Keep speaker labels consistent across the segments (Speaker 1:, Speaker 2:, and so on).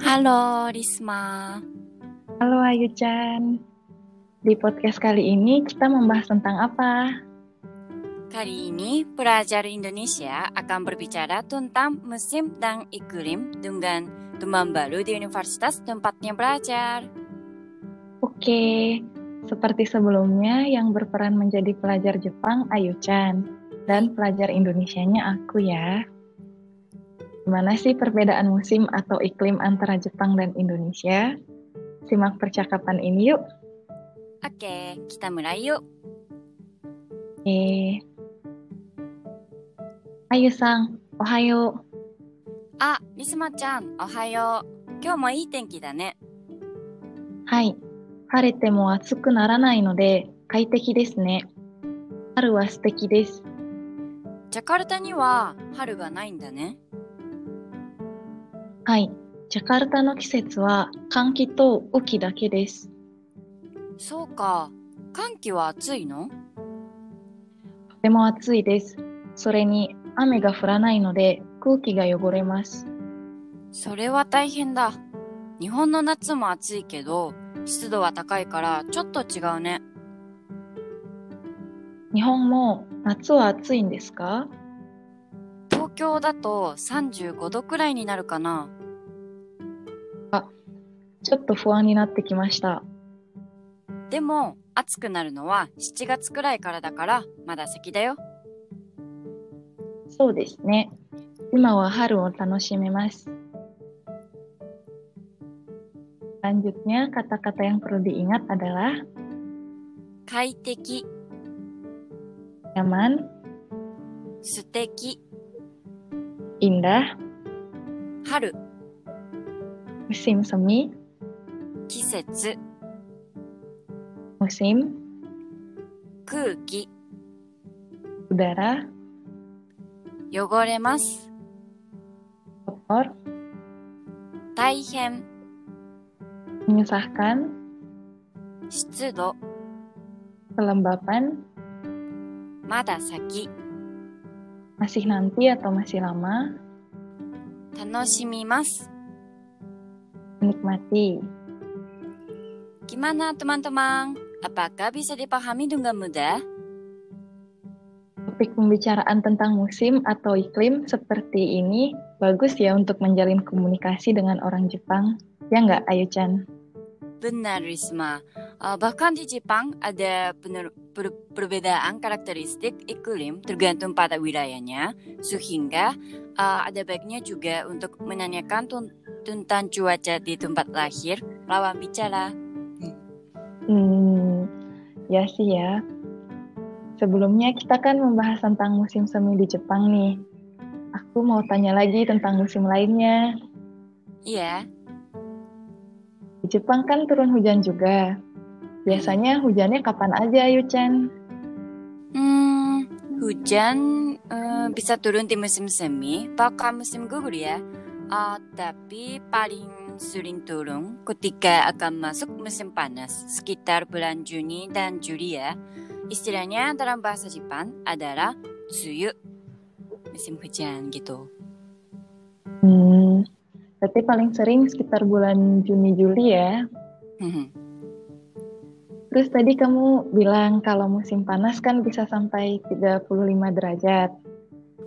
Speaker 1: Halo Risma.
Speaker 2: Halo Ayu Chan. Di podcast kali ini kita membahas tentang apa?
Speaker 1: Kali ini pelajar Indonesia akan berbicara tentang musim dan iklim dengan teman baru di universitas tempatnya belajar.
Speaker 2: Oke, seperti sebelumnya yang berperan menjadi pelajar Jepang Ayu Chan dan pelajar Indonesianya aku ya. Gimana sih perbedaan musim atau iklim antara Jepang dan Indonesia? Simak percakapan ini yuk.
Speaker 1: Oke, kita mulai yuk.
Speaker 2: Eh. Ayu Sang, ohayo.
Speaker 1: あ、リスマちゃん、おはよう。今日もいい天気だね。
Speaker 2: はい。晴れても暑くならないので快適ですね。春は素敵です。
Speaker 1: ジャカルタには春がないんだね。
Speaker 2: はい。ジャカルタの季節は換気と雨季だけです。
Speaker 1: そうか。寒気は暑いの
Speaker 2: とても暑いです。それに雨が降らないので空気が汚れます。
Speaker 1: それは大変だ。日本の夏も暑いけど、湿度は高いからちょっと違うね。
Speaker 2: 日本も夏は暑いんですか
Speaker 1: 東京だと35度くらいになるかな。
Speaker 2: ちょっと不安になってきました。
Speaker 1: でも、暑くなるのは7月くらいからだから、まだ先だよ。
Speaker 2: そうですね。今は春を楽しめます。Selanjutnya, kata-kata yang perlu diingat adalah
Speaker 1: 快適、
Speaker 2: nyaman,
Speaker 1: 素敵、
Speaker 2: indah,
Speaker 1: 春、
Speaker 2: musim semi,
Speaker 1: 季節、
Speaker 2: musim,
Speaker 1: 空気、
Speaker 2: udara,
Speaker 1: 汚れます。
Speaker 2: kotor,
Speaker 1: 大変、
Speaker 2: menyusahkan,
Speaker 1: 湿度、
Speaker 2: kelembapan,
Speaker 1: まだ先、
Speaker 2: masih nanti atau masih lama,
Speaker 1: 楽しみます。
Speaker 2: menikmati.
Speaker 1: Gimana teman-teman? Apakah bisa dipahami dengan mudah?
Speaker 2: Topik pembicaraan tentang musim atau iklim seperti ini bagus ya untuk menjalin komunikasi dengan orang Jepang. Ya nggak, Ayu Chan?
Speaker 1: Benar, Risma. Eh, bahkan di Jepang ada pener- per- perbedaan karakteristik iklim tergantung pada wilayahnya, sehingga eh, ada baiknya juga untuk menanyakan tun- tentang cuaca di tempat lahir lawan bicara.
Speaker 2: Hmm, ya sih ya. Sebelumnya kita kan membahas tentang musim semi di Jepang nih. Aku mau tanya lagi tentang musim lainnya.
Speaker 1: Iya,
Speaker 2: Di Jepang kan turun hujan juga. Biasanya hujannya kapan aja, Ayu Chan?
Speaker 1: Hmm, hujan eh, bisa turun di musim semi, bahkan musim gugur ya. Eh, tapi paling sering turun ketika akan masuk musim panas, sekitar bulan Juni dan Juli ya. Istilahnya dalam bahasa Jepang adalah tsuyu, musim hujan gitu.
Speaker 2: Hmm, berarti paling sering sekitar bulan Juni-Juli ya.
Speaker 1: Hmm,
Speaker 2: Terus tadi kamu bilang kalau musim panas kan bisa sampai 35 derajat.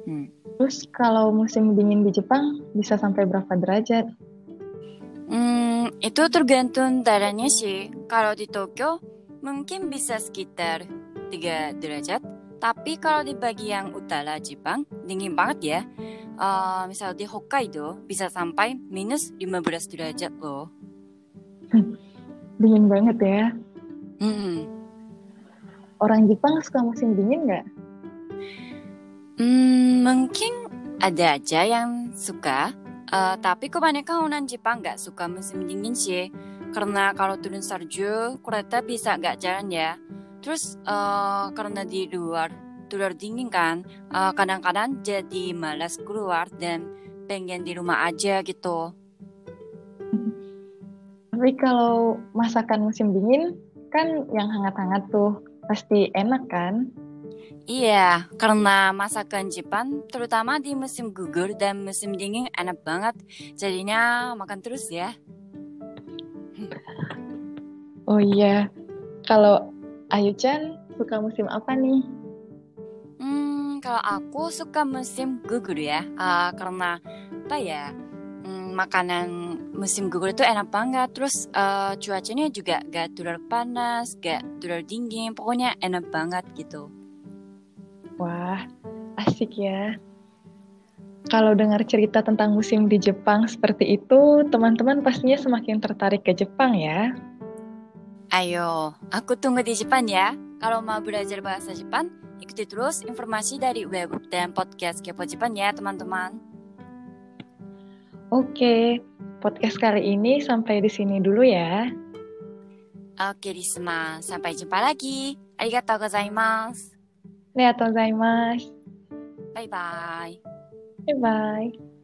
Speaker 1: Hmm.
Speaker 2: Terus kalau musim dingin di Jepang bisa sampai berapa derajat?
Speaker 1: Hmm, itu tergantung daerahnya sih. Kalau di Tokyo mungkin bisa sekitar 3 derajat. Tapi kalau di bagian utara Jepang dingin banget ya. Eh, misal di Hokkaido bisa sampai minus 15 derajat loh.
Speaker 2: Dingin banget ya.
Speaker 1: Hmm.
Speaker 2: Orang Jepang suka musim dingin nggak?
Speaker 1: Hmm, mungkin ada aja yang suka. Eh, tapi kebanyakan orang Jepang nggak suka musim dingin sih. Karena kalau turun salju, kereta bisa nggak jalan ya. Terus eh, karena di luar, luar dingin kan, eh, kadang-kadang jadi malas keluar dan pengen di rumah aja gitu.
Speaker 2: Tapi kalau masakan musim dingin kan yang hangat-hangat tuh pasti enak kan?
Speaker 1: Iya, karena masakan Jepang terutama di musim gugur dan musim dingin enak banget. Jadinya makan terus ya.
Speaker 2: Oh iya, kalau Ayu-chan suka musim apa nih?
Speaker 1: Hmm, kalau aku suka musim gugur ya, Ah, karena apa ya? hmm, makanan musim gugur itu enak banget. Terus eh, cuacanya juga gak terlalu panas, gak terlalu dingin. Pokoknya enak banget gitu.
Speaker 2: Wah, asik ya. Kalau dengar cerita tentang musim di Jepang seperti itu, teman-teman pastinya semakin tertarik ke Jepang ya.
Speaker 1: Ayo, aku tunggu di Jepang ya. Kalau mau belajar bahasa Jepang, ikuti terus informasi dari web dan podcast Kepo Jepang ya, teman-teman.
Speaker 2: Oke, podcast kali ini sampai di sini dulu ya.
Speaker 1: Oke, Risma. Sampai jumpa lagi. Arigatou gozaimasu.
Speaker 2: Lihat gozaimasu.
Speaker 1: Bye-bye.
Speaker 2: Bye-bye.